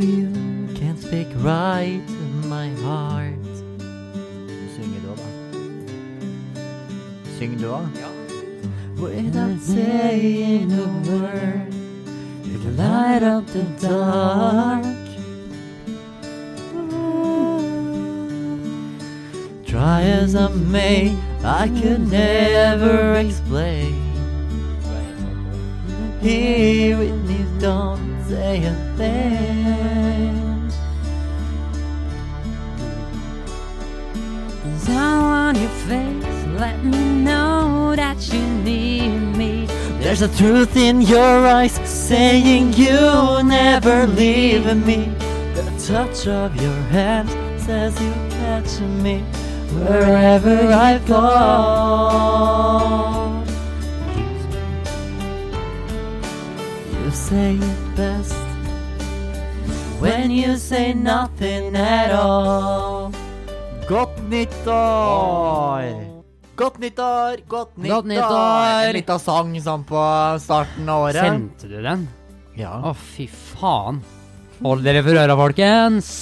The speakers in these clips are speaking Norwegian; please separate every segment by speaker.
Speaker 1: you can't speak right in my heart.
Speaker 2: Synger du òg, da? Synger du òg?
Speaker 1: Without saying a word, you light up the dark. Try as I may, I could never explain. Here with me, don't say a thing. Smile on your face, let me know that you need me. There's a truth in your eyes saying you'll never leave me. The touch of your hand says you catch me wherever I go. You say it best when you say nothing at all.
Speaker 2: Godt nyttår! Godt nyttår! Godt nyttår!
Speaker 3: nyttår!
Speaker 2: En liten sang sånn på starten av året.
Speaker 3: Sendte du den?
Speaker 2: Ja.
Speaker 3: Å, fy faen. Hold dere for øra, folkens.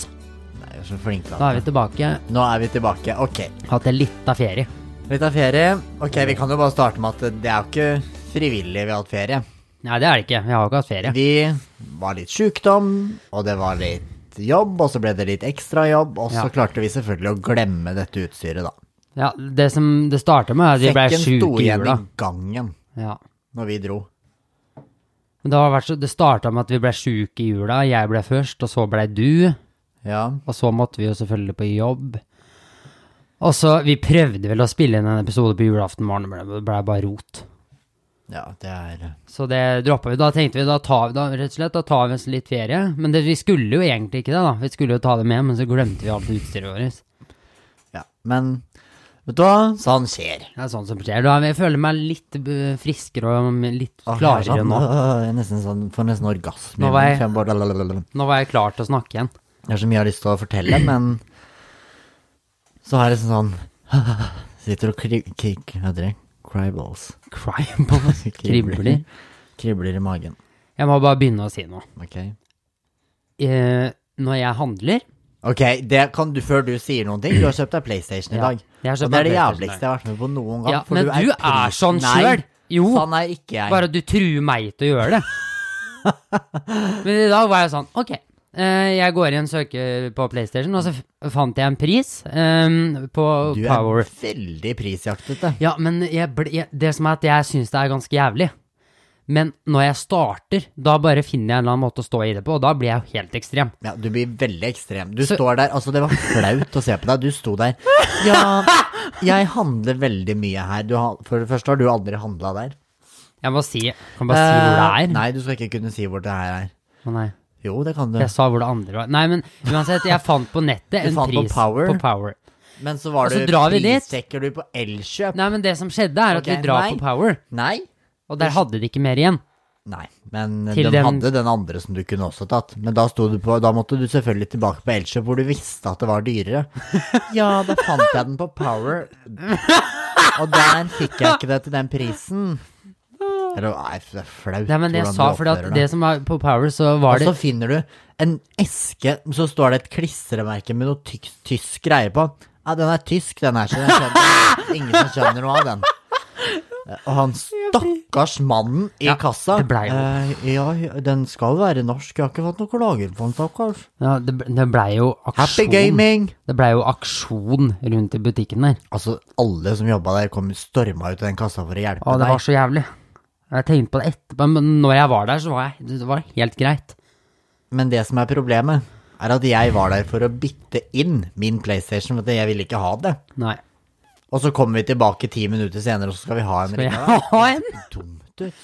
Speaker 2: Nei, jeg er så flink da.
Speaker 3: Da er vi tilbake.
Speaker 2: Nå er vi tilbake. Ok.
Speaker 3: Hatt en lita ferie.
Speaker 2: Vi tar ferie. Ok, vi kan jo bare starte med at det er jo ikke frivillig vi har hatt ferie.
Speaker 3: Nei, det er det ikke. Vi har jo ikke hatt ferie.
Speaker 2: Vi var litt sjukdom, og det var litt jobb, og så ble det litt ekstra jobb, og så
Speaker 3: Ja.
Speaker 2: klarte vi selvfølgelig å glemme dette utstyret, da.
Speaker 3: Ja, Det som det starta med, er at vi ble
Speaker 2: Sekken sto
Speaker 3: sjuke i
Speaker 2: igjen i
Speaker 3: jula.
Speaker 2: gangen
Speaker 3: Ja.
Speaker 2: når vi dro.
Speaker 3: Men det, har vært så, det starta med at vi ble sjuke i jula. Jeg ble først, og så ble du.
Speaker 2: Ja.
Speaker 3: Og så måtte vi jo selvfølgelig på jobb. Og så, Vi prøvde vel å spille inn en episode på julaften morgen, men det ble bare rot.
Speaker 2: ja, det er
Speaker 3: Så det droppa vi. Da tenkte vi da tar vi, da, rett og slett, da tar vi oss litt ferie. Men det, vi skulle jo egentlig ikke det, da. Vi skulle jo ta det med, men så glemte vi alt utstyret vårt.
Speaker 2: Ja. Men vet du hva? Sånn skjer.
Speaker 3: Det er sånn som skjer. Da, jeg føler meg litt eh, friskere og litt
Speaker 2: Åh, jeg er
Speaker 3: klarere
Speaker 2: sånn,
Speaker 3: nå.
Speaker 2: øh, jeg er nesten sånn, får nesten orgasme.
Speaker 3: Nå var jeg-
Speaker 2: i munnen, for jeg bare- lalalala.
Speaker 3: Nå var jeg klar til å snakke igjen.
Speaker 2: Jeg har så mye jeg har lyst til å fortelle, men så har jeg liksom sånn Sitter og kri... kri hva heter det? Cribles.
Speaker 3: Crime. Kribler.
Speaker 2: Kribler i magen.
Speaker 3: Jeg må bare begynne å si noe.
Speaker 2: Ok.
Speaker 3: Eh, når jeg handler
Speaker 2: Ok, det kan du før du sier noen ting. Du har kjøpt deg PlayStation i
Speaker 3: Ja,
Speaker 2: dag.
Speaker 3: jeg har kjøpt
Speaker 2: og det er
Speaker 3: meg
Speaker 2: det
Speaker 3: PlayStation i
Speaker 2: jævligste jeg har vært med på noen gang.
Speaker 3: Ja,
Speaker 2: for
Speaker 3: men
Speaker 2: du er,
Speaker 3: du er sånn
Speaker 2: prisen- Nei,
Speaker 3: sjøl! Jo.
Speaker 2: Sånn er ikke jeg.
Speaker 3: Bare at du truer meg til å gjøre det. Men i dag var jeg sånn, ok. eh, jeg går inn og søker på PlayStation, og så f- fant jeg en pris eh, på
Speaker 2: du er
Speaker 3: Power.
Speaker 2: veldig prisjaktete.
Speaker 3: Ja, men jeg ble, jeg, det som er at jeg syns det er ganske jævlig. Men når jeg starter, da bare finner jeg en eller annen måte å stå i det på, og da blir jeg jo helt ekstrem.
Speaker 2: Ja, du blir veldig ekstrem. Du
Speaker 3: Så-
Speaker 2: står der, altså det var flaut å se på deg. Du sto der. Ja, jeg handler veldig mye her. Du har, for det første har du aldri handla der.
Speaker 3: Jeg må si Kan bare si hvor det
Speaker 2: Eh,
Speaker 3: er.
Speaker 2: Nei, du skal ikke kunne si hvor det her er.
Speaker 3: Å, nei.
Speaker 2: Jo, det kan du.
Speaker 3: Jeg sa hvor det andre var. Nei, men uansett, jeg fant på nettet
Speaker 2: Du
Speaker 3: en
Speaker 2: fant på
Speaker 3: pris
Speaker 2: Power?
Speaker 3: på Power.
Speaker 2: Men så var
Speaker 3: Og så
Speaker 2: du
Speaker 3: drar vi dit.
Speaker 2: prissjekker du på Elkjøp.
Speaker 3: Nei, men det som skjedde, er at
Speaker 2: Ok,
Speaker 3: vi drar
Speaker 2: nei.
Speaker 3: på Power,
Speaker 2: Nei.
Speaker 3: og der hadde de ikke mer igjen.
Speaker 2: Nei, men
Speaker 3: Til
Speaker 2: den,
Speaker 3: den-
Speaker 2: hadde den andre som du kunne også tatt. Men da, sto du på, da måtte du selvfølgelig tilbake på Elkjøp, hvor du visste at det var dyrere. Ja, da fant jeg den på Power, og der fikk jeg ikke det til den prisen. Eller nei, det er flaut
Speaker 3: Nei, men det jeg sa, fordi at det som var på Power, så var
Speaker 2: Og så
Speaker 3: det
Speaker 2: finner du en eske, så står det et klistremerke med noe tyk, tysk greie på. Ja, den er tysk, den her, så den skjønner, ingen som skjønner noe av den. Eh, Og han stakkars mannen i
Speaker 3: Ja,
Speaker 2: kassa
Speaker 3: det ble jo.
Speaker 2: eh, Ja, den skal være norsk, jeg har ikke fått noen klager på den, stakkars.
Speaker 3: ja, Det, det blei jo
Speaker 2: Happy
Speaker 3: aksjon.
Speaker 2: gaming!
Speaker 3: Det blei jo aksjon rundt i butikken der.
Speaker 2: Altså, alle som jobba der, kom storma ut av den kassa for å hjelpe
Speaker 3: Å, det
Speaker 2: deg.
Speaker 3: var så jævlig. Jeg tenkte på det etterpå, men når jeg var der, så var jeg, det var helt greit.
Speaker 2: Men det som er problemet, er at jeg var der for å bytte inn min PlayStation, for at jeg ville ikke ha det.
Speaker 3: Nei.
Speaker 2: Og så kommer vi tilbake ti minutter senere, og så skal vi ha en
Speaker 3: Skal jeg
Speaker 2: ringe.
Speaker 3: ha en?
Speaker 2: Dumt ut.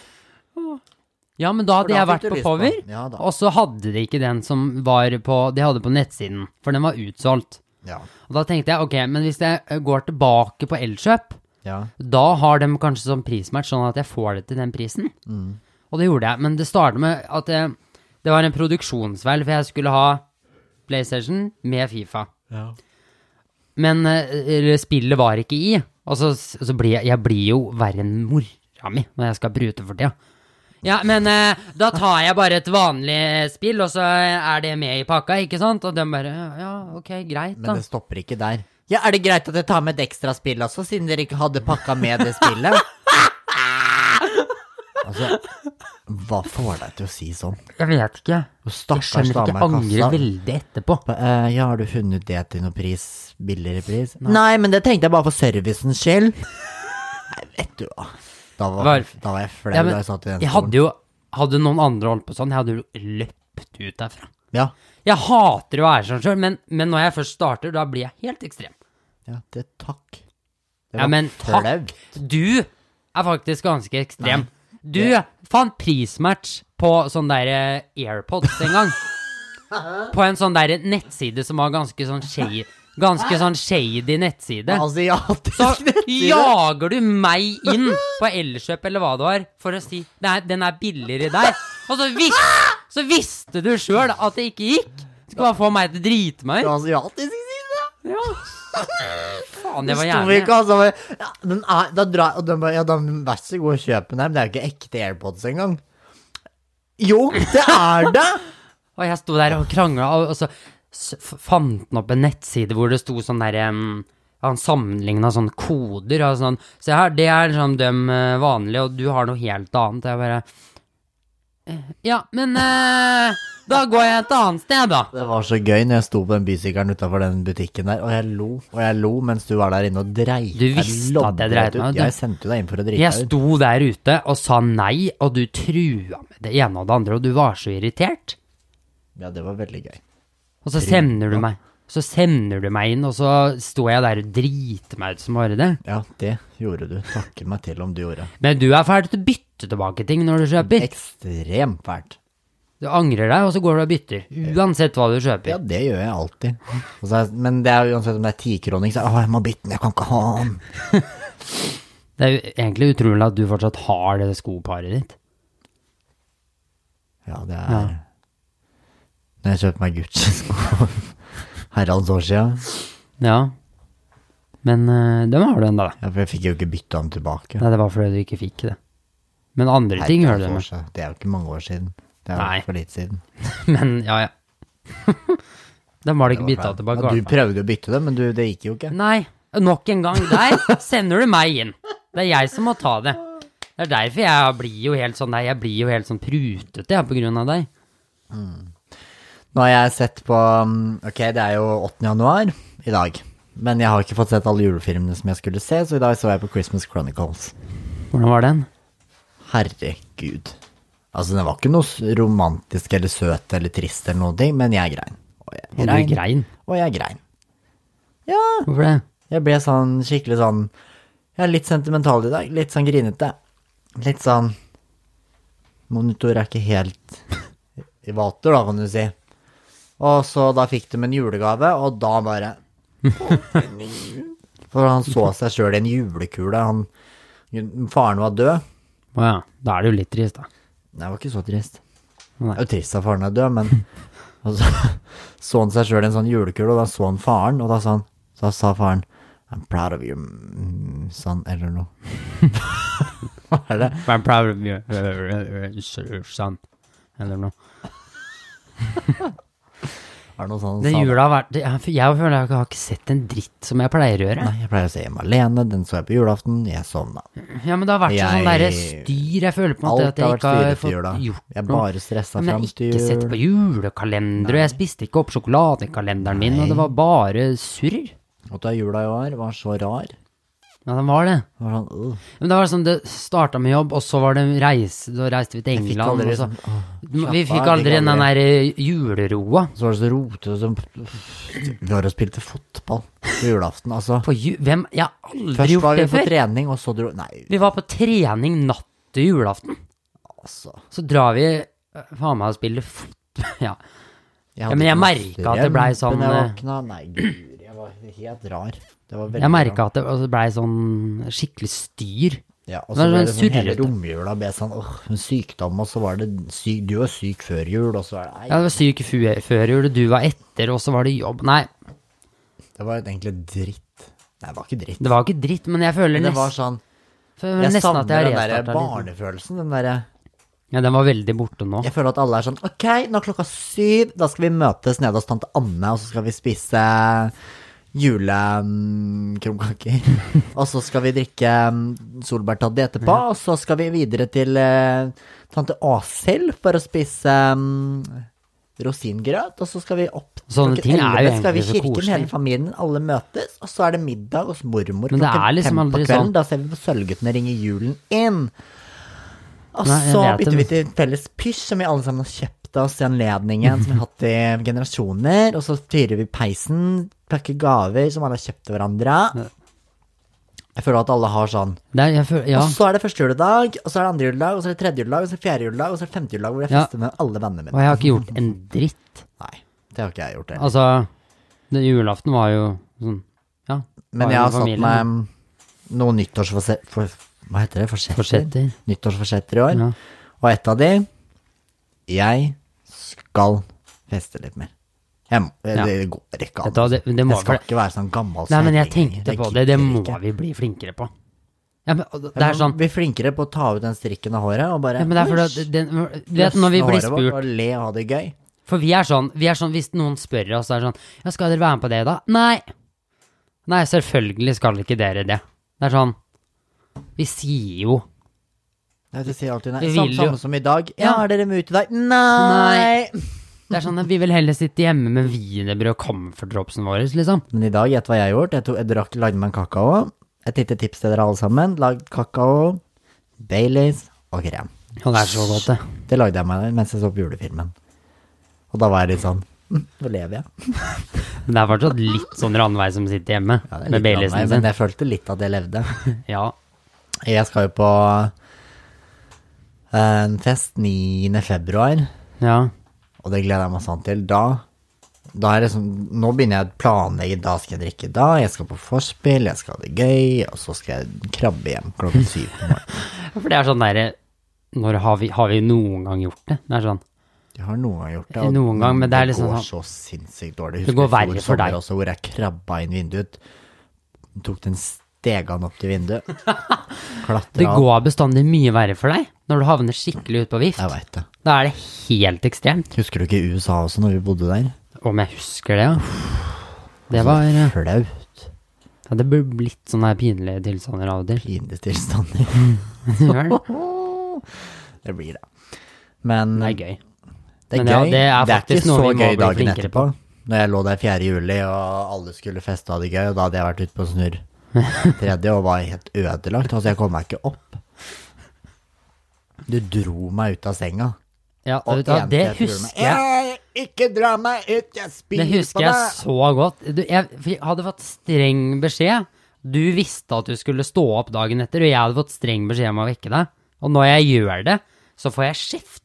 Speaker 3: Ja, men da
Speaker 2: For
Speaker 3: hadde
Speaker 2: da
Speaker 3: jeg
Speaker 2: fikk
Speaker 3: vært
Speaker 2: du
Speaker 3: på
Speaker 2: lyst på
Speaker 3: Power,
Speaker 2: den. Ja, da.
Speaker 3: og så hadde de ikke den som var på De hadde på nettsiden, for den var utsolgt.
Speaker 2: Ja.
Speaker 3: Og da tenkte jeg ok, men hvis jeg eh, går tilbake på Elkjøp,
Speaker 2: ja.
Speaker 3: Da har de kanskje sånn prismatch, sånn at jeg får det til den prisen.
Speaker 2: Mm.
Speaker 3: Og det gjorde jeg, men det startet med at eh, det var en produksjonsfeil, for jeg skulle ha PlayStation med Fifa. Men eh, spillet var ikke i, og så, så blir jeg, jeg blir jo verre enn mora mi når jeg skal prute for tida. Ja, men eh, da tar jeg bare et vanlig spill, og så er det med i pakka, ikke sant? Og de bare Ja, ok, greit,
Speaker 2: Men
Speaker 3: da.
Speaker 2: det stopper ikke der. Ja, er det greit at jeg tar med et ekstra spill også, siden dere ikke hadde pakka med det spillet? Altså, hva får deg til å si sånn?
Speaker 3: Jeg vet ikke.
Speaker 2: Og
Speaker 3: Jeg
Speaker 2: Stakkars
Speaker 3: skjønner ikke.
Speaker 2: dame i
Speaker 3: Angrer
Speaker 2: kassa.
Speaker 3: veldig etterpå.
Speaker 2: Eh, ja, har du funnet det til noen pris? Billigere pris? Nei, men det tenkte jeg bare for servicens skyld. Nei, vet du hva. Da var,
Speaker 3: Var-
Speaker 2: da var jeg flau da
Speaker 3: Ja, men,
Speaker 2: jeg satt i den
Speaker 3: jeg hadde jo Hadde noen andre holdt på sånn, jeg hadde jo løpt ut derfra.
Speaker 2: Ja,
Speaker 3: Jeg hater å være sånn sjøl, men, men når jeg først starter, da blir jeg helt ekstrem.
Speaker 2: ja, det takk. Det
Speaker 3: Ja,
Speaker 2: var
Speaker 3: men takk.
Speaker 2: flaut.
Speaker 3: Du er faktisk ganske ekstrem. Du fant prismatch på sånn derre AirPods en gang. På en sånn derre nettside som var ganske sånn shady, ganske sånn shady nettside.
Speaker 2: Asiatisk
Speaker 3: Så
Speaker 2: nettside.
Speaker 3: jager du meg inn på Elkjøp eller hva det var, for å si Nei, den er billigere der. Og så, vis, så visste du sjøl at det ikke gikk. Du skulle bare få meg til å drite meg
Speaker 2: På
Speaker 3: ut.
Speaker 2: asiatisk side.
Speaker 3: Ja. Faen, det var
Speaker 2: Sto vi
Speaker 3: jævlig.
Speaker 2: ikke, altså, bare, ja, den er, da dra, og den bare, ja, da, vær så god, kjøp den her, men det er jo ikke ekte AirPods engang. Jo, det er det!
Speaker 3: Og jeg sto der og krangla, og, og så s- f- fant han opp en nettside hvor det sto sånn derre Han sammenligna sånne koder og sånn. Se her, det er sånn dem eh, vanlige, og du har noe helt annet. Jeg bare eh, Ja, men eh, da går jeg et annet sted, da.
Speaker 2: Det var så gøy når jeg sto på den bysykkelen utafor den butikken der, og jeg lo og jeg lo mens du var der inne og dreit
Speaker 3: Du
Speaker 2: deg
Speaker 3: visste at jeg
Speaker 2: loddrett
Speaker 3: dreit meg ut,
Speaker 2: ut.
Speaker 3: du.
Speaker 2: Jeg sendte jo deg inn for å drite
Speaker 3: Jeg
Speaker 2: deg ut.
Speaker 3: sto der ute og sa nei, og du trua med det ene og det andre, og du var så irritert.
Speaker 2: Ja, det var veldig gøy.
Speaker 3: Og så sender du meg. Så sender du meg inn, og så står jeg der og driter meg ut som bare det.
Speaker 2: Ja, det gjorde du. Takker meg til om du gjorde.
Speaker 3: Men du er ferdig til å bytte tilbake ting når du kjøper.
Speaker 2: Ekstremt fælt.
Speaker 3: Du angrer deg, og så går du og bytter. Uansett hva du
Speaker 2: Ja,
Speaker 3: kjøper.
Speaker 2: det gjør jeg alltid. Og så er, men det er jo uansett om det er tikroning, så er det, Å, jeg må bytte den, jeg kan ikke ha den.
Speaker 3: Det er jo egentlig utrolig at du fortsatt har det skoparet ditt.
Speaker 2: Ja, det er Når jeg kjøpte meg Gucci-sko herrens år sia,
Speaker 3: Ja. Men øh, dem har du ennå, da.
Speaker 2: ja, for jeg fikk jo ikke bytta dem tilbake.
Speaker 3: Nei, det var fordi du ikke fikk det. Men andre ting
Speaker 2: Herrens
Speaker 3: gjør du det
Speaker 2: år
Speaker 3: med.
Speaker 2: siden. Det er jo ikke mange år siden. Det er
Speaker 3: Nei.
Speaker 2: jo for litt siden.
Speaker 3: Men ja, ja. Dem var det ikke bytta tilbake. i
Speaker 2: Ja,
Speaker 3: hvert
Speaker 2: du
Speaker 3: fall.
Speaker 2: prøvde å bytte det, men du, det gikk jo ikke.
Speaker 3: Nei, nok en gang der sender du meg inn. Det er jeg som må ta det. Det er derfor jeg blir jo helt sånn, nei, jeg blir jo helt sånn prutete jeg, på grunn av deg.
Speaker 2: Nå har jeg sett på um, Ok, det er jo 8. januar i dag. Men jeg har ikke fått sett alle julefilmene som jeg skulle se, så i dag så jeg på Christmas Chronicles.
Speaker 3: Hvordan var den?
Speaker 2: Herregud. Altså, den var ikke noe s- romantisk eller søt eller trist eller noen ting, men jeg grein. Og
Speaker 3: Og
Speaker 2: jeg
Speaker 3: du
Speaker 2: grein.
Speaker 3: grein.
Speaker 2: Og jeg grein. Ja,
Speaker 3: Hvorfor det?
Speaker 2: jeg ble sånn skikkelig sånn Jeg er litt sentimental i dag. Litt sånn grinete. Litt sånn Monitor er ikke helt i vater, da, kan du si. Og så da fikk de en julegave, og da bare For han så seg sjøl i en julekule. Han, faren var død.
Speaker 3: Å ja, da er det jo litt trist, da.
Speaker 2: Nei, det var ikke så trist.
Speaker 3: Nei.
Speaker 2: Det er jo trist at faren er død, men og så, så han seg sjøl i en sånn julekule, og da så han faren, og da sa, han, da sa faren I'm proud of you, mm, son, eller noe. Hva er det?
Speaker 3: I'm proud of you, son. Eller noe.
Speaker 2: Er det noe sånn
Speaker 3: Den
Speaker 2: sa-
Speaker 3: jula har vært Jeg jeg føler jeg har ikke sett en dritt som jeg pleier å gjøre.
Speaker 2: Nei, jeg pleier å se Hjemme alene, den så jeg på julaften, jeg sovna.
Speaker 3: Ja, men det har vært
Speaker 2: Jeg-
Speaker 3: sånn derre styr. Jeg føler på en måte
Speaker 2: Alt
Speaker 3: at jeg
Speaker 2: har vært
Speaker 3: ikke har
Speaker 2: styret til
Speaker 3: fått
Speaker 2: jula. Jeg er
Speaker 3: gjort noe.
Speaker 2: bare stressa
Speaker 3: Men
Speaker 2: fram
Speaker 3: jeg har
Speaker 2: til
Speaker 3: ikke sett
Speaker 2: jul.
Speaker 3: på julekalendere, og jeg spiste ikke opp sjokoladekalenderen min, og det var bare surr.
Speaker 2: Og da jula i år var så rar. Det
Speaker 3: Ja, den var det.
Speaker 2: var sånn, øh,
Speaker 3: Men det var sånn, det starta med jobb, og så var det en reise, da reiste vi til
Speaker 2: fikk
Speaker 3: England.
Speaker 2: aldri
Speaker 3: og så,
Speaker 2: sånn, åh,
Speaker 3: vi
Speaker 2: slapp av, jeg
Speaker 3: fikk aldri
Speaker 2: fikk
Speaker 3: den der eh, juleroa.
Speaker 2: så var det så rotete og sånn Vi var og spilte fotball på julaften, altså.
Speaker 3: På ju Hvem? Jeg har aldri
Speaker 2: Først var vi
Speaker 3: gjort det
Speaker 2: på
Speaker 3: før.
Speaker 2: trening, og så dro Nei,
Speaker 3: Vi var på trening natt til julaften.
Speaker 2: altså.
Speaker 3: Så drar vi eh, faen meg og spiller fotball. Ja.
Speaker 2: hadde
Speaker 3: men jeg
Speaker 2: ikke noe
Speaker 3: merket at det blei
Speaker 2: strøm
Speaker 3: sånn,
Speaker 2: når Jeg
Speaker 3: eh,
Speaker 2: våkna, nei, gud, jeg var helt rar. Det var veldig
Speaker 3: Jeg merka at det altså, blei sånn skikkelig styr.
Speaker 2: rar. Ja, og så
Speaker 3: det var
Speaker 2: ble
Speaker 3: sånn
Speaker 2: det sånn hele
Speaker 3: surrete.
Speaker 2: romjula ble sånn åh, en sykdom, og så var det syk, Du var syk før jul, og så var det
Speaker 3: Ja,
Speaker 2: Nei,
Speaker 3: det var syk fu- før jul, du var etter, og så var det jobb. Nei,
Speaker 2: det var egentlig dritt. Nei, det var ikke dritt.
Speaker 3: det var ikke dritt, men jeg føler
Speaker 2: Men det
Speaker 3: nest,
Speaker 2: var sånn
Speaker 3: føler
Speaker 2: Jeg
Speaker 3: nesten
Speaker 2: savner
Speaker 3: at jeg
Speaker 2: den
Speaker 3: har
Speaker 2: derre
Speaker 3: restarta litt.
Speaker 2: barnefølelsen, den derre
Speaker 3: Ja, den var veldig borte nå.
Speaker 2: Jeg føler at alle er sånn Ok, nå er klokka syv, da skal vi møtes nede hos tante Anne, og så skal vi spise julekrumkaker. og så skal vi drikke mm, solbærtoddy etterpå, og så skal vi videre til eh, tante Åshild for å spise mm, rosingrøt, og så skal vi opp
Speaker 3: Sånne
Speaker 2: klokken
Speaker 3: ting er jo
Speaker 2: 11, skal vi i
Speaker 3: egentlig så
Speaker 2: kirken,
Speaker 3: koselig.
Speaker 2: hele familien, alle møtes, og så er det middag hos mormor
Speaker 3: Men det
Speaker 2: klokken
Speaker 3: er liksom
Speaker 2: fem på
Speaker 3: aldri
Speaker 2: kvelden.
Speaker 3: sånn.
Speaker 2: Da ser vi på Sølvguttene ringe julen inn. Og
Speaker 3: Nei, jeg
Speaker 2: så
Speaker 3: vet det,
Speaker 2: bytter vi
Speaker 3: men-
Speaker 2: til Altså, felles pysj, som vi alle sammen har kjøpt oss i anledningen, som vi har hatt i generasjoner. Og så fyrer vi peisen, pakker gaver som alle har kjøpt til hverandre. Jeg føler at alle har sånn.
Speaker 3: Det er, jeg føler, ja.
Speaker 2: Og så er det første juledag, og så er det andre juledag, og så er det tredje juledag, og så er det fjerde juledag, og så er det femte juledag, hvor jeg
Speaker 3: Ja.
Speaker 2: fester med alle vennene
Speaker 3: Og
Speaker 2: mine.
Speaker 3: jeg har ikke gjort en dritt.
Speaker 2: Nei, det har ikke jeg gjort heller.
Speaker 3: Altså, den julaften var jo sånn Ja.
Speaker 2: Men jeg har satt meg mm, noen nyttårsforsetter for, Hva heter det? Forsetter?
Speaker 3: Forsetter.
Speaker 2: Nyttårsforsetter i år.
Speaker 3: Ja.
Speaker 2: Og et av de Jeg skal feste litt mer. Jeg må, eh, Det går ikke
Speaker 3: Vet du hva,
Speaker 2: an.
Speaker 3: det, det må
Speaker 2: Jeg skal
Speaker 3: vel-
Speaker 2: ikke være sånn gammel
Speaker 3: Nei, men jeg
Speaker 2: kjerring lenger.
Speaker 3: tenkte på det. Det
Speaker 2: gidder
Speaker 3: må
Speaker 2: ikke.
Speaker 3: vi bli flinkere på. Ja, men, og det
Speaker 2: Jeg
Speaker 3: det
Speaker 2: må
Speaker 3: er sånn
Speaker 2: Bli flinkere på å ta ut den strikken av håret og bare
Speaker 3: ja, men det er fordi at den, Du vet når
Speaker 2: løsne
Speaker 3: vi blir
Speaker 2: håret vårt
Speaker 3: spurt
Speaker 2: Og le og ha det gøy.
Speaker 3: For vi er sånn, vi er sånn hvis noen spør oss, så er det sånn Ja, skal dere være med på det, da? Nei. Nei, selvfølgelig skal ikke dere det. Det er sånn Vi sier jo
Speaker 2: Nei, Du sier alltid nei.
Speaker 3: Vi
Speaker 2: Samme,
Speaker 3: vil jo-
Speaker 2: samme som i dag. Ja,
Speaker 3: Ja.
Speaker 2: er dere med ut i dag? Nei!
Speaker 3: Det er sånn at vi vil heller sitte hjemme med wienerbrød og comfortdropsen vår, liksom.
Speaker 2: Men i dag, gjett hva jeg har gjort. Jeg, tok, jeg drakk, lagde meg en kakao. Et lite tips til dere alle sammen. Lagd kakao, Baileys og krem.
Speaker 3: Ja, det er så godt, det.
Speaker 2: Det lagde jeg meg mens jeg så på julefilmen. Og da var jeg litt sånn «Hm, Nå lever jeg.
Speaker 3: Men det er fortsatt litt sånn Randveig som sitter hjemme
Speaker 2: Ja, det er litt av
Speaker 3: med
Speaker 2: meg,
Speaker 3: Baileysen
Speaker 2: men
Speaker 3: sin.
Speaker 2: jeg følte litt at jeg levde.
Speaker 3: Ja.
Speaker 2: Jeg skal jo på eh, en fest 9. februar,
Speaker 3: ja.
Speaker 2: og det gleder jeg meg sånn til. Da, da er det sånn, Nå begynner jeg å planlegge. Da skal jeg drikke da, jeg skal på vorspiel, jeg skal ha det gøy, og så skal jeg krabbe hjem klokken syv på morgenen.
Speaker 3: For det er sånn derre Når har vi, har vi noen gang gjort det? Det er sånn
Speaker 2: Jeg har noen gang gjort det.
Speaker 3: Noen gang, men det er liksom
Speaker 2: går
Speaker 3: sånn-
Speaker 2: så sinnssykt dårlig.
Speaker 3: Det
Speaker 2: Husker
Speaker 3: går
Speaker 2: i fjor
Speaker 3: verre for
Speaker 2: sommer
Speaker 3: deg.
Speaker 2: Også, hvor jeg krabba inn vinduet, tok den stegan opp til vinduet,
Speaker 3: Det
Speaker 2: klatra opp.
Speaker 3: går bestandig mye verre for deg når du havner skikkelig ut på
Speaker 2: Jeg
Speaker 3: vift.
Speaker 2: veit det.
Speaker 3: Da er det helt ekstremt.
Speaker 2: Husker du ikke i USA også, når vi bodde der?
Speaker 3: Om jeg husker det, ja. Det var eh,
Speaker 2: Flaut.
Speaker 3: ja, Det burde blitt sånne her pinlige tilstander av og til.
Speaker 2: Pinlige tilstander.
Speaker 3: Det er det.
Speaker 2: Det blir det. Men
Speaker 3: Det er gøy.
Speaker 2: Det er
Speaker 3: Men
Speaker 2: gøy.
Speaker 3: ja, det er faktisk
Speaker 2: ikke
Speaker 3: noe
Speaker 2: så
Speaker 3: vi må
Speaker 2: gøy
Speaker 3: bli
Speaker 2: dagen
Speaker 3: flinkere
Speaker 2: etterpå. Når jeg lå der 4. juli, og alle skulle feste og ha det gøy, og da hadde jeg vært ute på snurr tredje og var helt ødelagt. Altså, jeg kom meg ikke opp. Du dro meg ut av senga.
Speaker 3: Ja,
Speaker 2: Og
Speaker 3: vet du, hva,
Speaker 2: tjente
Speaker 3: det
Speaker 2: jeg til
Speaker 3: husker
Speaker 2: julemiddag.
Speaker 3: jeg.
Speaker 2: «Ei, Ikke dra meg ut, jeg
Speaker 3: Det
Speaker 2: spyr på
Speaker 3: husker jeg
Speaker 2: deg!
Speaker 3: så godt. Du, jeg for jeg hadde fått streng beskjed. Du visste at du skulle stå opp dagen etter, og jeg hadde fått streng beskjed om å vekke deg. Og når jeg gjør det, så får jeg skift.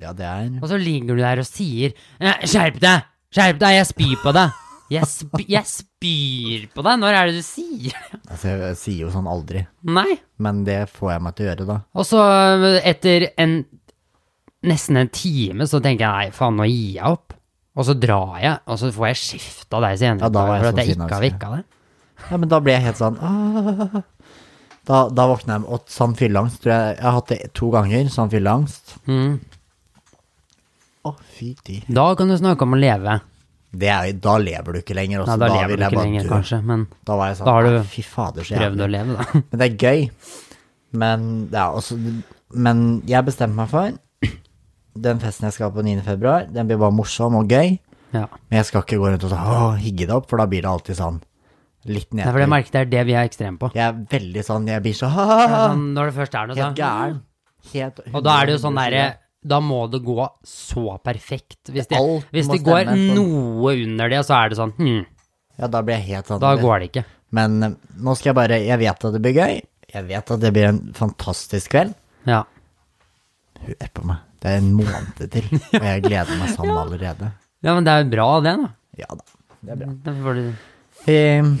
Speaker 2: Ja, det er
Speaker 3: Og så ligger du der og sier «Eh, Skjerp deg! Skjerp deg! Jeg spyr på deg! Jeg, sp jeg spyr på deg! Når er det du sier det?
Speaker 2: Altså, jeg, jeg sier jo sånn aldri.
Speaker 3: Nei.
Speaker 2: Men det får jeg meg til å gjøre, da.
Speaker 3: Og så eh, etter en nesten en time så tenker jeg nei, faen, nå gir jeg opp. Og så drar jeg, og så får jeg skift av deg senere
Speaker 2: Ja, da var jeg
Speaker 3: for at
Speaker 2: så
Speaker 3: jeg
Speaker 2: sinna, altså.
Speaker 3: ikke har
Speaker 2: husker
Speaker 3: vekka deg.
Speaker 2: Ja, men da ble jeg helt sånn «Åh». da, da våkna jeg med sånn fylleangst. Tror jeg, jeg har hatt det to ganger, sånn fylleangst. Å,
Speaker 3: Mm.
Speaker 2: fy de.
Speaker 3: Da kan du snakke om å leve.
Speaker 2: Det er, da lever du ikke lenger. Også.
Speaker 3: Nei, da,
Speaker 2: vil
Speaker 3: lever du
Speaker 2: jeg
Speaker 3: ikke
Speaker 2: bare
Speaker 3: lenger,
Speaker 2: dø.
Speaker 3: kanskje, men
Speaker 2: Da var jeg sånn
Speaker 3: Da har du
Speaker 2: «Nei, Fy fader, så
Speaker 3: prøv å
Speaker 2: jævlig.
Speaker 3: leve, da.
Speaker 2: Men det er gøy. Men, ja, også, men jeg bestemte meg for den festen jeg skal på 9. februar, den blir bare morsom og gøy.
Speaker 3: Ja.
Speaker 2: Men jeg skal ikke gå rundt og sånn, «Åh, higge det opp, for da blir det alltid sånn litt
Speaker 3: Det er for det
Speaker 2: nedtur.
Speaker 3: merket det er det vi er ekstreme på.
Speaker 2: Jeg er veldig sånn, jeg blir så «Haha».
Speaker 3: Sånn, når det først er noe,
Speaker 2: Helt
Speaker 3: så
Speaker 2: gæren. Helt
Speaker 3: Og da er det jo sånn
Speaker 2: 100%
Speaker 3: derre Da må det gå så perfekt. Hvis det,
Speaker 2: Alt
Speaker 3: hvis
Speaker 2: må
Speaker 3: det går
Speaker 2: stemme på-
Speaker 3: noe under det, så er det sånn hm,
Speaker 2: Ja, da blir jeg helt sånn
Speaker 3: Da går det ikke.
Speaker 2: Men eh, nå skal jeg bare Jeg vet at det blir gøy. Jeg vet at det blir en fantastisk kveld.
Speaker 3: Ja.
Speaker 2: Hør på meg. Det er en måned til, og jeg gleder meg sånn allerede.
Speaker 3: ja, men det er jo bra, det, da.
Speaker 2: Ja da. Det er bra.
Speaker 3: Det får du...
Speaker 2: Eh,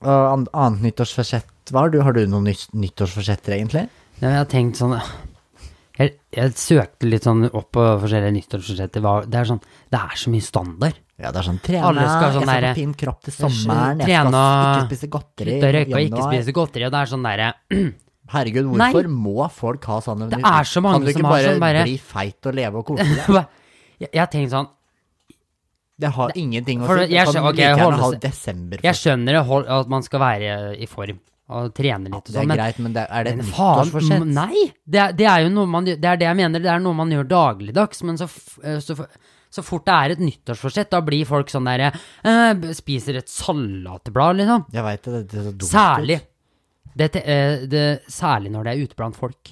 Speaker 2: og an annet nyttårsforsett hva har du? Har du noen nytt nyttårsforsetter, egentlig?
Speaker 3: Ja, jeg har tenkt sånn jeg, jeg søkte litt sånn opp på forskjellige nyttårsforsetter. hva- Det er sånn Det er så mye standard.
Speaker 2: Ja, det er sånn trene,
Speaker 3: Alle skal sånn
Speaker 2: jeg skal
Speaker 3: derre-
Speaker 2: få fin kropp til
Speaker 3: skjønner,
Speaker 2: sommeren, jeg skal
Speaker 3: trene-
Speaker 2: ikke spise godteri
Speaker 3: Slutt å røyke og ikke
Speaker 2: januar.
Speaker 3: spise godteri, og det er sånn derre
Speaker 2: Herregud, hvorfor må folk ha sånne
Speaker 3: Det er så mange
Speaker 2: Kan du ikke
Speaker 3: som har sånn bare-
Speaker 2: bli feit og leve og kose deg?
Speaker 3: Jeg, jeg tenkte sånn
Speaker 2: Det har ingenting å
Speaker 3: For
Speaker 2: si.
Speaker 3: det-
Speaker 2: Du
Speaker 3: jeg
Speaker 2: kan
Speaker 3: skjønner- ok,
Speaker 2: like gjerne
Speaker 3: holde
Speaker 2: ha
Speaker 3: seg-
Speaker 2: desember
Speaker 3: Jeg
Speaker 2: først.
Speaker 3: skjønner det, hold, at man skal være i form og trene litt og
Speaker 2: Det
Speaker 3: sånn,
Speaker 2: er
Speaker 3: men
Speaker 2: greit, men det, er det et
Speaker 3: men
Speaker 2: nyttårsforsett?
Speaker 3: faen, nei! Det er, det er jo noe man, gjør- det er det jeg mener, det er noe man gjør dagligdags, men så, f- eh, så, f- så fort det er et nyttårsforsett, da blir folk sånn derre eh, Spiser et salatblad, liksom.
Speaker 2: Jeg veit det, det er så dumt. ut.
Speaker 3: Særlig. Det, te- eh, det, særlig når det er ute blant folk.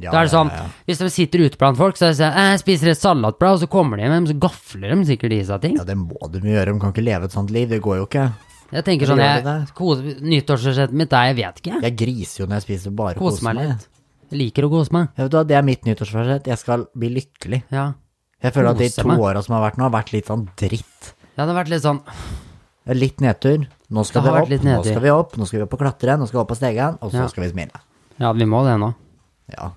Speaker 2: Ja,
Speaker 3: Da er det sånn,
Speaker 2: ja, ja.
Speaker 3: Hvis de sitter ute blant folk, så er det sånn, eh, spiser et salatblad, og så kommer de hjem, så gafler de sikkert i seg ting.
Speaker 2: Ja, det må de jo gjøre. De kan ikke leve et sånt liv. Det går jo ikke.
Speaker 3: Jeg tenker
Speaker 2: Gjør
Speaker 3: sånn,
Speaker 2: de
Speaker 3: jeg,
Speaker 2: det?
Speaker 3: kose- nyttårsforsettet mitt er, jeg vet ikke.
Speaker 2: Jeg griser jo når jeg spiser bare
Speaker 3: Kose meg litt. Jeg liker å kose meg.
Speaker 2: Jeg vet du hva, Det er mitt nyttårsforsett. Jeg skal bli lykkelig.
Speaker 3: Ja.
Speaker 2: Jeg føler at de
Speaker 3: Kose
Speaker 2: to
Speaker 3: meg.
Speaker 2: åra som har vært nå, har vært litt sånn dritt.
Speaker 3: Det hadde vært litt sånn
Speaker 2: Det er Litt nedtur. Nå skal
Speaker 3: Det
Speaker 2: vi
Speaker 3: har vært
Speaker 2: opp,
Speaker 3: litt
Speaker 2: nå
Speaker 3: nedtur.
Speaker 2: skal vi opp, nå skal vi opp og klatre, nå skal vi opp på stegen, og så
Speaker 3: Ja.
Speaker 2: skal vi smile.
Speaker 3: Ja, vi må det nå.
Speaker 2: Ja.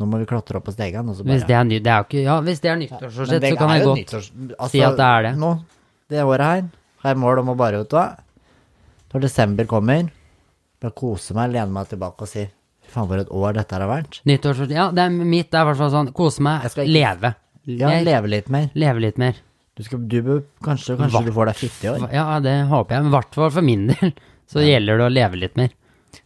Speaker 2: Nå må vi klatre opp på stegen, og så
Speaker 3: Hvis
Speaker 2: bare
Speaker 3: det er, ny, det er jo ikke, ja, hvis det er nyttårsforsett, så kan jeg godt si at det er det.
Speaker 2: altså, Nå, det året her, har jeg mål om å bare, vet du hva Når desember kommer, bare kose meg, lene meg tilbake og si Fy faen, for et år dette her har vært.
Speaker 3: Nyttårsforsett Ja, det er mitt er i hvert fall sånn kose meg,
Speaker 2: Jeg skal ikke-
Speaker 3: leve.
Speaker 2: Ja,
Speaker 3: Jeg-
Speaker 2: leve litt mer.
Speaker 3: Leve litt mer.
Speaker 2: Du skal, du, bør- kanskje kanskje du får deg 50 år.
Speaker 3: Ja, det håper jeg. Men i hvert fall for min del så gjelder det å leve litt mer.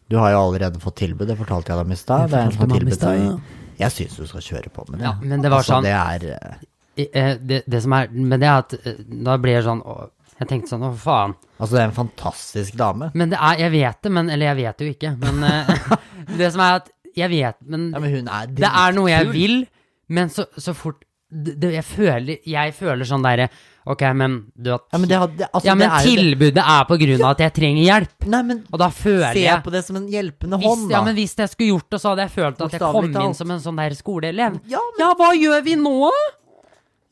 Speaker 2: Du har jo allerede fått tilbud, det fortalte jeg deg i stad. Det er en
Speaker 3: fortalte
Speaker 2: som har
Speaker 3: meg om i
Speaker 2: tilbudt
Speaker 3: stad,
Speaker 2: deg
Speaker 3: ja.
Speaker 2: Jeg syns du skal kjøre på med det.
Speaker 3: Ja, men det var sånn-
Speaker 2: Det er eh,
Speaker 3: I- eh, Det, det som er Men det er at eh, da blir jeg sånn å, Jeg tenkte sånn, å faen.
Speaker 2: Altså, det er en fantastisk dame.
Speaker 3: Men det er Jeg vet det, men Eller jeg vet det jo ikke, men eh, Det som er at Jeg vet, men
Speaker 2: Ja, men hun er
Speaker 3: Det er noe jeg
Speaker 2: dritkul.
Speaker 3: vil, men så, så fort det, det, jeg, føler, jeg føler sånn derre Ok, men du at
Speaker 2: Ja, men, det hadde, altså,
Speaker 3: Ja, men
Speaker 2: det er jo det-
Speaker 3: tilbudet er på grunn av at jeg trenger hjelp.
Speaker 2: Nei, men
Speaker 3: Og da føler
Speaker 2: se
Speaker 3: jeg
Speaker 2: på det som en hjelpende
Speaker 3: hvis,
Speaker 2: hånd, da.
Speaker 3: ja, men hvis jeg skulle gjort det, så hadde jeg følt at jeg kom
Speaker 2: Bokstavelig
Speaker 3: inn
Speaker 2: talt.
Speaker 3: som en sånn der skoleelev.
Speaker 2: Ja, men-
Speaker 3: ja, hva gjør vi nå?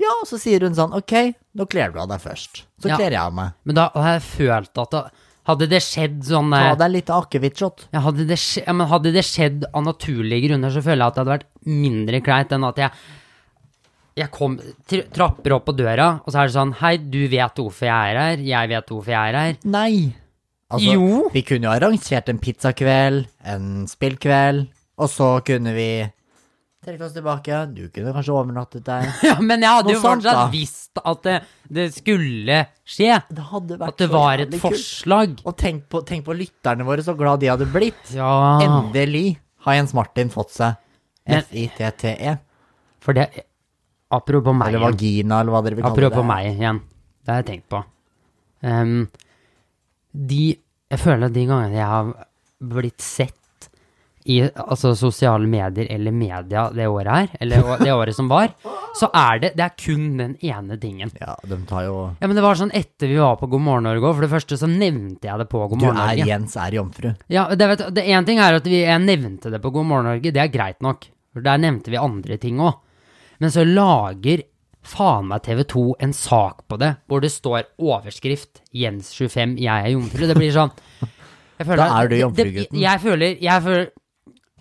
Speaker 2: Ja, og så sier hun sånn, ok, nå kler du av deg først. Så
Speaker 3: Ja.
Speaker 2: kler jeg av meg.
Speaker 3: Men da har jeg følt at da, Hadde det skjedd sånn
Speaker 2: Ta
Speaker 3: der
Speaker 2: deg litt akevittshot.
Speaker 3: ja, hadde, det skje, ja, men hadde det skjedd av naturlige grunner, så føler jeg at det hadde vært mindre kleint enn at jeg, jeg kom, tr trapper opp på døra, og så er det sånn Hei, du vet hvorfor jeg er her. Jeg vet hvorfor jeg er her.
Speaker 2: Nei. Altså,
Speaker 3: Jo.
Speaker 2: Vi kunne jo arrangert en pizzakveld, en spillkveld, og så kunne vi trekke oss tilbake. Du kunne kanskje overnattet der.
Speaker 3: Ja, men jeg hadde
Speaker 2: Noe
Speaker 3: jo
Speaker 2: sånt,
Speaker 3: fortsatt
Speaker 2: da.
Speaker 3: visst at det, det skulle skje.
Speaker 2: Det hadde vært
Speaker 3: At det
Speaker 2: så
Speaker 3: var et
Speaker 2: jævlig kult.
Speaker 3: forslag.
Speaker 2: Og tenk på, tenk på lytterne våre, så glad de hadde blitt.
Speaker 3: Ja,
Speaker 2: Endelig har Jens Martin fått seg
Speaker 3: Ah. Men-
Speaker 2: F-I-T-T-E.
Speaker 3: for det Apropos meg.
Speaker 2: Eller
Speaker 3: igjen.
Speaker 2: vagina, eller hva dere vil kalle det.
Speaker 3: Apropos meg igjen. Det har jeg tenkt på. Ehm, de Jeg føler at de gangene jeg har blitt sett i altså, sosiale medier eller media det året her, eller å- det året som var, så er det Det er kun den ene tingen.
Speaker 2: Ja, de tar jo
Speaker 3: Ja, men det var sånn etter vi var på God morgen Norge òg, for det første så nevnte jeg det på God
Speaker 2: Du
Speaker 3: morgen
Speaker 2: er
Speaker 3: Norge.
Speaker 2: Jens er jomfru.
Speaker 3: Ja, det vet, det en ting er at vi, jeg nevnte det på God morgen Norge, det er greit nok. For der nevnte vi andre ting òg. Men så lager faen meg TV 2 en sak på det, hvor det står overskrift 'Jens 25, jeg er jomfru'. Det blir sånn jeg føler,
Speaker 2: Da er du
Speaker 3: det- det-
Speaker 2: jomfrugutten.
Speaker 3: Jeg føler, jeg føler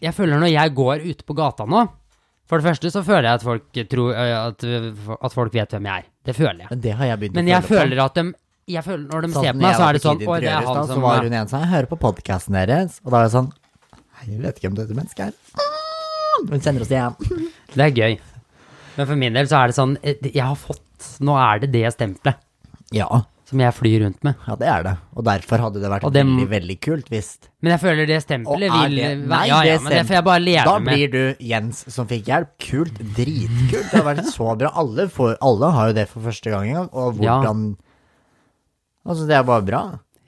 Speaker 3: Jeg føler når jeg går ute på gata nå For det første så føler jeg at folk, tror, at, at folk vet hvem jeg er. Det føler jeg.
Speaker 2: Men det har jeg begynt
Speaker 3: Men
Speaker 2: å
Speaker 3: jeg
Speaker 2: føle på.
Speaker 3: føler at de jeg føler, Når de
Speaker 2: Sånn
Speaker 3: ser
Speaker 2: som når
Speaker 3: på meg,
Speaker 2: jeg
Speaker 3: så
Speaker 2: var
Speaker 3: er det
Speaker 2: på
Speaker 3: sånn
Speaker 2: Kid
Speaker 3: Å, det er
Speaker 2: Interiør i
Speaker 3: han
Speaker 2: stad,
Speaker 3: som
Speaker 2: Så var hun en sånn, jeg hører på podkasten deres, og da er jeg sånn Nei, jeg vet ikke hvem dette mennesket er. Hun kjenner oss igjen.
Speaker 3: Det er gøy. Men for min del så er det sånn eh, Jeg har fått Nå er det det stempelet
Speaker 2: Ja,
Speaker 3: som jeg flyr rundt med.
Speaker 2: ja, det er det. Og derfor hadde det vært
Speaker 3: Og dem-
Speaker 2: veldig, veldig kult hvis
Speaker 3: Men jeg føler det
Speaker 2: Og
Speaker 3: stempelet
Speaker 2: er
Speaker 3: vil
Speaker 2: det
Speaker 3: være- ja, ja, men det får jeg bare leve
Speaker 2: Da
Speaker 3: med.
Speaker 2: blir du Jens som fikk hjelp. Kult. Dritkult. Det har vært så bra. Alle, får, alle har jo det for første gang en gang, og
Speaker 3: Ja.
Speaker 2: hvordan Altså, det er bare bra.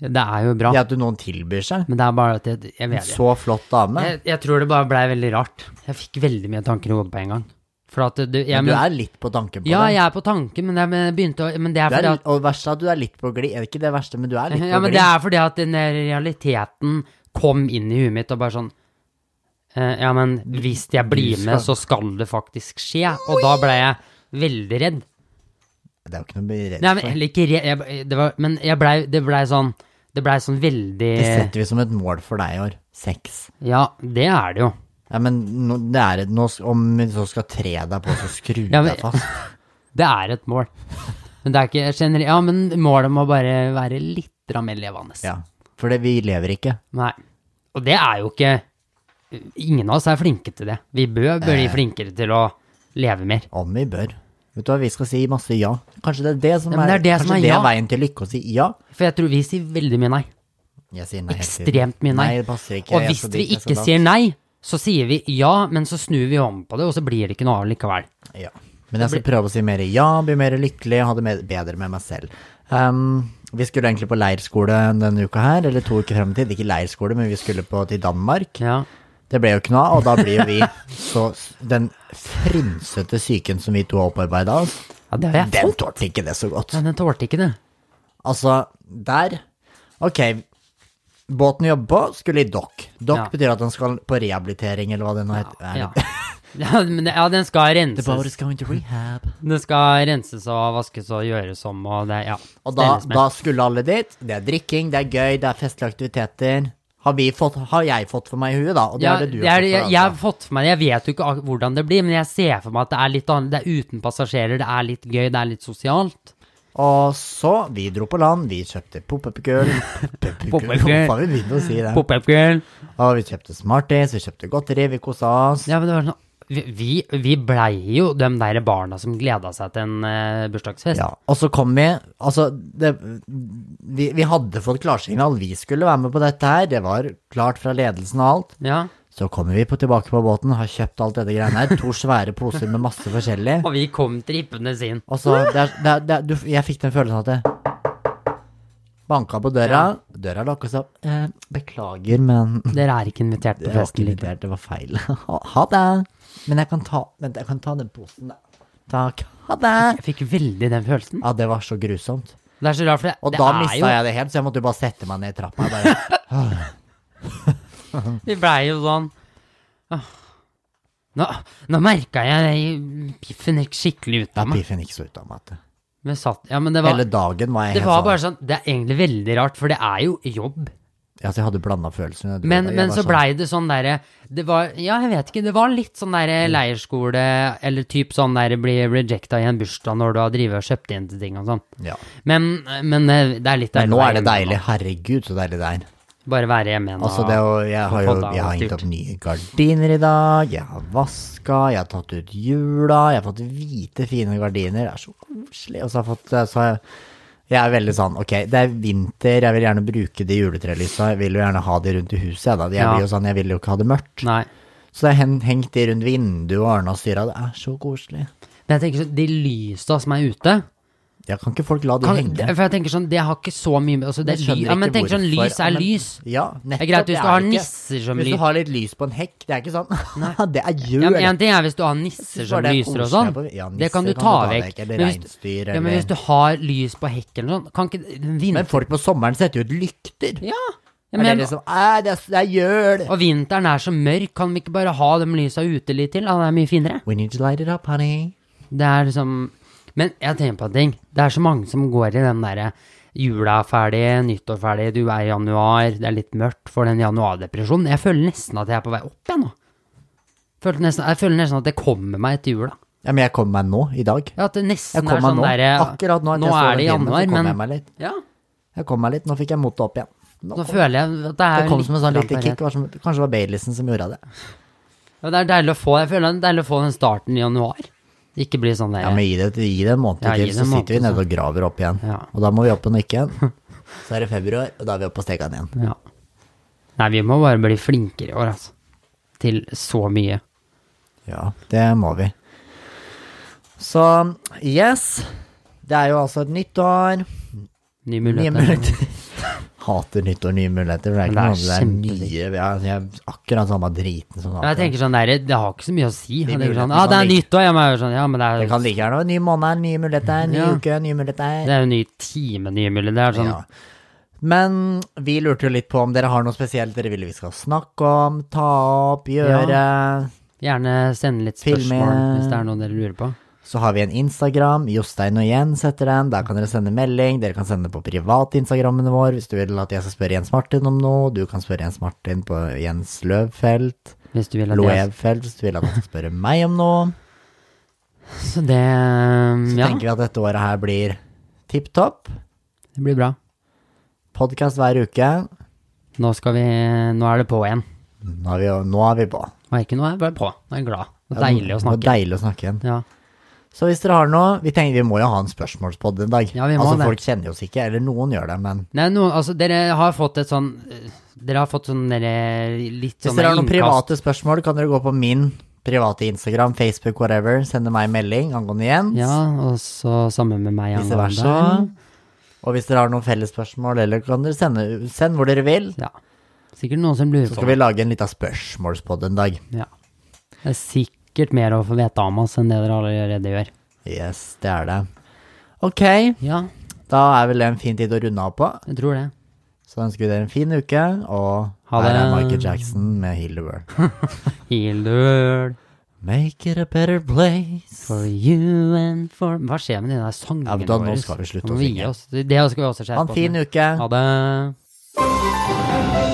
Speaker 3: Det er jo bra.
Speaker 2: Det at du noen tilbyr seg.
Speaker 3: Men det er bare at jeg, jeg vet det.
Speaker 2: Så flott dame.
Speaker 3: Jeg, jeg tror det bare blei veldig rart. Jeg fikk veldig mye tanker i hodet på en gang. For at du, jeg,
Speaker 2: Men du
Speaker 3: men,
Speaker 2: er litt på tanken på
Speaker 3: Ja,
Speaker 2: det.
Speaker 3: jeg er på tanken, men jeg men jeg begynte å Men det er
Speaker 2: Du er,
Speaker 3: fordi at
Speaker 2: og verst er at du er litt på glid. Er det ikke det verste, men du er litt på
Speaker 3: Ja, men det
Speaker 2: glid.
Speaker 3: er fordi at den der realiteten kom inn i huet mitt og bare sånn eh, Ja, men hvis jeg blir med, så skal det faktisk skje. Og da ble jeg veldig redd.
Speaker 2: Det er jo ikke noe å bli redd
Speaker 3: Nei, men
Speaker 2: for.
Speaker 3: eller ikke redd jeg, det var, Men jeg blei det blei sånn Det blei sånn veldig
Speaker 2: Det setter vi som et mål for deg i år. Sex.
Speaker 3: Ja, det er det jo.
Speaker 2: Ja, men nå, det er, et- nå, om vi så skal tre deg på, så skru
Speaker 3: Ja, men-
Speaker 2: deg fast.
Speaker 3: Det er et mål. Men det er ikke generelt Ja, men målet må bare være litt mer levende.
Speaker 2: Ja. For det, vi lever ikke.
Speaker 3: Nei. Og det er jo ikke Ingen av oss er flinke til det. Vi bør bli
Speaker 2: Eh.
Speaker 3: flinkere til å leve mer.
Speaker 2: Om vi bør. Vet du hva, vi skal si masse ja. Kanskje det er det som
Speaker 3: Ja, men
Speaker 2: er,
Speaker 3: det er det som
Speaker 2: kanskje
Speaker 3: er
Speaker 2: det
Speaker 3: ja.
Speaker 2: er veien til lykke, å si ja.
Speaker 3: For jeg tror vi sier veldig mye nei.
Speaker 2: Jeg sier nei. hele tiden.
Speaker 3: Ekstremt mye nei.
Speaker 2: det passer ikke.
Speaker 3: Og
Speaker 2: Jeg er
Speaker 3: hvis
Speaker 2: så
Speaker 3: vi
Speaker 2: dit, jeg er så
Speaker 3: ikke
Speaker 2: da.
Speaker 3: sier nei, så sier vi ja, men så snur vi om på det, og så blir det ikke noe av likevel.
Speaker 2: Ja. Men jeg skal prøve å si mer ja, bli mer lykkelig, ha det med- bedre med meg selv. Ehm, vi skulle egentlig på leirskole denne uka her, eller to uker frem i tid. Ikke leirskole, men vi skulle på til Danmark.
Speaker 3: Ja.
Speaker 2: Det ble jo ikke noe av, og da blir jo vi så Den frynsete psyken som vi to har opparbeida oss,
Speaker 3: ja, det har jeg
Speaker 2: den
Speaker 3: fått.
Speaker 2: tålte ikke det så godt.
Speaker 3: Men den tålte ikke det.
Speaker 2: Altså, der Ok, båten vi jobber på, skulle i dokk. Dokk
Speaker 3: Ja.
Speaker 2: betyr at den skal på rehabilitering, eller hva det nå heter. Er
Speaker 3: Ja.
Speaker 2: det-
Speaker 3: Ja, men det- ja, den skal renses.
Speaker 2: going to rehab.
Speaker 3: Den skal renses og vaskes og gjøres om og det, ja.
Speaker 2: Og da,
Speaker 3: stelles med.
Speaker 2: da skulle alle dit. Det er drikking, det er gøy, det er festlige aktiviteter. Har, vi fått, har jeg fått for meg i huet, da? Og det
Speaker 3: Ja,
Speaker 2: er det du
Speaker 3: det
Speaker 2: har
Speaker 3: er-
Speaker 2: fått for
Speaker 3: jeg,
Speaker 2: deg,
Speaker 3: jeg har
Speaker 2: altså.
Speaker 3: fått for meg Jeg vet jo ikke ak- hvordan det blir, men jeg ser for meg at det er litt annet. Det er uten passasjerer, det er litt gøy, det er litt sosialt.
Speaker 2: Og så, vi dro på land, vi kjøpte pop-up-gull.
Speaker 3: Pop-up-gull.
Speaker 2: Hvorfor har vi begynt å si det?
Speaker 3: Pop-up girl.
Speaker 2: Og vi kjøpte Smarties, vi kjøpte godteri, vi kosa oss.
Speaker 3: Ja, men det var sånn vi- Vi, vi blei jo de der barna som gleda seg til en eh, bursdagsfest.
Speaker 2: Ja, og så kom vi Altså, det, vi, vi hadde fått klarsignal. Vi skulle være med på dette her. Det var klart fra ledelsen og alt.
Speaker 3: Ja.
Speaker 2: Så kommer vi på tilbake på båten, har kjøpt alt dette greiene her. To svære poser med masse forskjellig.
Speaker 3: Og vi kom trippende inn.
Speaker 2: Og så, Altså, det er, det er, det er, du, jeg fikk den følelsen at det banka på døra, døra lukket seg opp. Eh, beklager, men
Speaker 3: Dere er ikke invitert på
Speaker 2: det var, ikke
Speaker 3: festen. likevel.
Speaker 2: invitert, det var feil. Ha ha det. Men jeg kan ta, vent, jeg kan ta den posen, da. Takk. Ha det.
Speaker 3: Jeg fikk veldig den følelsen.
Speaker 2: Ja, det var så grusomt.
Speaker 3: Det er så rart, for det,
Speaker 2: Og
Speaker 3: det
Speaker 2: da
Speaker 3: er
Speaker 2: mista
Speaker 3: jo
Speaker 2: jeg det helt, så jeg måtte jo bare sette meg ned i trappa. Jeg Bare,
Speaker 3: Vi blei jo sånn «Åh, Nå, nå merka jeg piffen gikk skikkelig ut
Speaker 2: ja,
Speaker 3: av meg.
Speaker 2: piffen gikk så ut av meg. at
Speaker 3: Vi satt, ja, men det var,
Speaker 2: Hele dagen var jeg
Speaker 3: det
Speaker 2: helt
Speaker 3: var
Speaker 2: sånn.
Speaker 3: bare sånn Det er egentlig veldig rart, for det er jo jobb.
Speaker 2: Ja, så jeg hadde blanda følelser. Jeg dro
Speaker 3: Men,
Speaker 2: da. Jeg
Speaker 3: men
Speaker 2: var
Speaker 3: så
Speaker 2: sånn,
Speaker 3: blei det sånn derre Det var Ja, jeg vet ikke. Det var litt sånn derre
Speaker 2: Mm.
Speaker 3: leirskole, eller typ sånn derre bli rejecta i en bursdag når du har drevet og kjøpt inn til ting og sånn.
Speaker 2: ja.
Speaker 3: Men, men eh, det er litt
Speaker 2: Men
Speaker 3: deilig.
Speaker 2: nå
Speaker 3: å
Speaker 2: er
Speaker 3: være
Speaker 2: det
Speaker 3: hjemme
Speaker 2: deilig. Herregud, så deilig det er.
Speaker 3: nå. Bare være hjemme igjen.
Speaker 2: Altså,
Speaker 3: og-
Speaker 2: det er jo, jeg har jo
Speaker 3: fått av
Speaker 2: jeg har
Speaker 3: alt
Speaker 2: hengt opp
Speaker 3: gjort.
Speaker 2: nye gardiner i dag, jeg har vaska, jeg har tatt ut hjula, jeg har fått hvite, fine gardiner, det er så koselig. Og så har jeg fått eh, så har jeg, jeg er veldig sånn, ok, det er vinter, jeg vil gjerne bruke de juletrelysa, jeg vil jo gjerne ha de rundt i huset, jeg da. Jeg
Speaker 3: Ja.
Speaker 2: blir jo sånn, jeg vil jo ikke ha det mørkt.
Speaker 3: Nei.
Speaker 2: Så jeg har hen- hengt de rundt vinduet og ordna og styra, det er så koselig.
Speaker 3: Men jeg tenker sånn, de lysa som er ute
Speaker 2: Ja, kan ikke folk la de
Speaker 3: kan,
Speaker 2: henge?
Speaker 3: For jeg tenker sånn, det har ikke så mye med altså, det,
Speaker 2: Jeg
Speaker 3: er ly,
Speaker 2: skjønner
Speaker 3: ja, Men
Speaker 2: ikke
Speaker 3: tenk sånn,
Speaker 2: hvorfor.
Speaker 3: lys
Speaker 2: Ja,
Speaker 3: er
Speaker 2: men-
Speaker 3: lys.
Speaker 2: Ja, nettopp.
Speaker 3: Det er greit hvis
Speaker 2: det
Speaker 3: du har
Speaker 2: ikke-
Speaker 3: nisser som
Speaker 2: Hvis
Speaker 3: lys.
Speaker 2: du har litt lys på en hekk, det er ikke sånn Det er jul.
Speaker 3: Ja, men en ting er hvis du har nisser
Speaker 2: synes
Speaker 3: som
Speaker 2: bare det er
Speaker 3: lyser og
Speaker 2: koselig
Speaker 3: sånn.
Speaker 2: på- ja, nisser
Speaker 3: det kan du ta, vekk.
Speaker 2: Eller
Speaker 3: Men hvis,
Speaker 2: reinsdyr,
Speaker 3: ja, men hvis du
Speaker 2: eller
Speaker 3: har lys på hekken og sånn, kan ikke den vin-
Speaker 2: Men folk på sommeren setter jo ut lykter.
Speaker 3: Ja! ja,
Speaker 2: er
Speaker 3: men,
Speaker 2: det liksom Æ, det er, det er jul!
Speaker 3: og vinteren er så mørk, kan vi ikke bare ha de lysa ute litt til? Ja, det er mye finere.
Speaker 2: We need to light it up, honey.
Speaker 3: Det er liksom Men jeg tenker på en ting. Det er så mange som går i den derre Jula er ferdig, nyttår er ferdig, du er i januar, det er litt mørkt for den januardepresjonen. Jeg føler nesten at jeg er på vei opp igjen nå. Føler nesten, jeg føler nesten at det kommer meg etter jula.
Speaker 2: Ja, men jeg kommer meg nå, i dag.
Speaker 3: Ja, at det nesten
Speaker 2: Jeg
Speaker 3: er
Speaker 2: kom meg
Speaker 3: sånn
Speaker 2: nå.
Speaker 3: derre
Speaker 2: Akkurat nå. at jeg
Speaker 3: Nå
Speaker 2: så
Speaker 3: er det
Speaker 2: den filmen, så
Speaker 3: januar,
Speaker 2: kom
Speaker 3: men
Speaker 2: jeg meg litt.
Speaker 3: Ja,
Speaker 2: Jeg kom meg litt. Nå fikk jeg motet opp igjen. Nå
Speaker 3: nå
Speaker 2: kom-
Speaker 3: føler jeg at det er
Speaker 2: det kom som en sånn
Speaker 3: litt
Speaker 2: liten kick. Det var som- Kanskje det var Baileysen som gjorde det.
Speaker 3: Ja, det er deilig å få Jeg føler det er deilig å få den starten i januar. Ikke bli sånn der
Speaker 2: Ja, men gi det, gi det en måned
Speaker 3: Ja, gi
Speaker 2: til,
Speaker 3: det
Speaker 2: så
Speaker 3: en måned,
Speaker 2: sitter vi nede
Speaker 3: så-
Speaker 2: og graver opp igjen.
Speaker 3: Ja.
Speaker 2: Og da må vi opp på nykken. Så er det februar, og da er vi oppe på stegene igjen.
Speaker 3: Ja. Nei, vi må bare bli flinkere i år, altså. Til så mye.
Speaker 2: Ja, det må vi. Så yes. Det er jo altså et nytt år. Nye
Speaker 3: Nye muligheter.
Speaker 2: muligheter. Hater nytt år, nye muligheter. For det er
Speaker 3: Men
Speaker 2: ikke noe
Speaker 3: det
Speaker 2: det
Speaker 3: er
Speaker 2: er nye vi er- Jeg er akkurat samme driten som
Speaker 3: Ja, jeg
Speaker 2: alltid.
Speaker 3: tenker sånn der, Det har ikke så mye å si. Jeg tenker sånn,
Speaker 2: mulighetene
Speaker 3: ja,
Speaker 2: kan
Speaker 3: det er
Speaker 2: ligge-
Speaker 3: nytt òg. Ja, men jeg er sånn, ja, men det
Speaker 2: Det
Speaker 3: er,
Speaker 2: kan like gjerne være ny måned, nye muligheter, ny
Speaker 3: Ja.
Speaker 2: uke, nye muligheter.
Speaker 3: det er jo ny time, nye muligheter. Det er sånn,
Speaker 2: Ja. Men vi lurte jo litt på om dere har noe spesielt dere vil vi skal snakke om, ta opp, gjøre.
Speaker 3: Gjerne sende litt
Speaker 2: Filme.
Speaker 3: spørsmål hvis det er noe dere lurer på.
Speaker 2: Så har vi en Instagram, Jostein og Jens heter den. Der kan dere sende melding. Dere kan sende på privat-instagrammene våre hvis du vil at jeg skal spørre Jens Martin om noe. Du kan spørre Jens Martin på Jens Løvfelt.
Speaker 3: Hvis du vil at jeg,
Speaker 2: Loevfelt hvis du vil at han skal spørre meg om noe.
Speaker 3: Så det
Speaker 2: Så
Speaker 3: Ja,
Speaker 2: tenker vi at dette året her blir tipp topp.
Speaker 3: det blir bra.
Speaker 2: Podkast hver uke.
Speaker 3: Nå skal vi Nå er det på igjen.
Speaker 2: Nå er vi, nå er vi på.
Speaker 3: Og ikke noe, jeg er bare på. Nå er jeg glad. Det er deilig å
Speaker 2: Det
Speaker 3: snakke.
Speaker 2: var deilig å snakke igjen.
Speaker 3: Ja.
Speaker 2: Så hvis dere har noe Vi tenker vi må jo ha en spørsmålspod en dag.
Speaker 3: Ja, vi må
Speaker 2: altså,
Speaker 3: det.
Speaker 2: Folk kjenner oss ikke, eller noen gjør det, men
Speaker 3: Nei, noen, altså, dere har fått et sånn eh, Dere har fått sånn dere litt
Speaker 2: Hvis
Speaker 3: sånn
Speaker 2: dere har noen private spørsmål, kan dere gå på min private Instagram, Facebook, whatever. Sende meg en melding angående Jens.
Speaker 3: Ja, og så sammen med meg
Speaker 2: Vice
Speaker 3: angående.
Speaker 2: versa. Og hvis dere har noen fellesspørsmål, eller kan dere sende send hvor dere vil.
Speaker 3: Ja. Sikkert noen som lurer
Speaker 2: Så
Speaker 3: på
Speaker 2: skal vi lage en liten spørsmålspod en dag.
Speaker 3: Ja. Det er sikkert mer å få vite om oss enn det dere allerede gjør.
Speaker 2: Yes, det er det. Ok,
Speaker 3: Ja,
Speaker 2: da er vel det en fin tid å runde av på.
Speaker 3: jeg tror det.
Speaker 2: Så ønsker vi dere en fin uke, og
Speaker 3: Ha
Speaker 2: her er
Speaker 3: det.
Speaker 2: Michael Jackson med Heal the World.
Speaker 3: Healed
Speaker 2: Make it a better place.
Speaker 3: for you and for Hva skjer med de der sangene
Speaker 2: Ja, men da- nå skal vi slutte
Speaker 3: Nå
Speaker 2: å
Speaker 3: må vi
Speaker 2: synge.
Speaker 3: gi oss. Det skal vi også
Speaker 2: Ha
Speaker 3: skjerpe
Speaker 2: en fin uke.
Speaker 3: Ha det.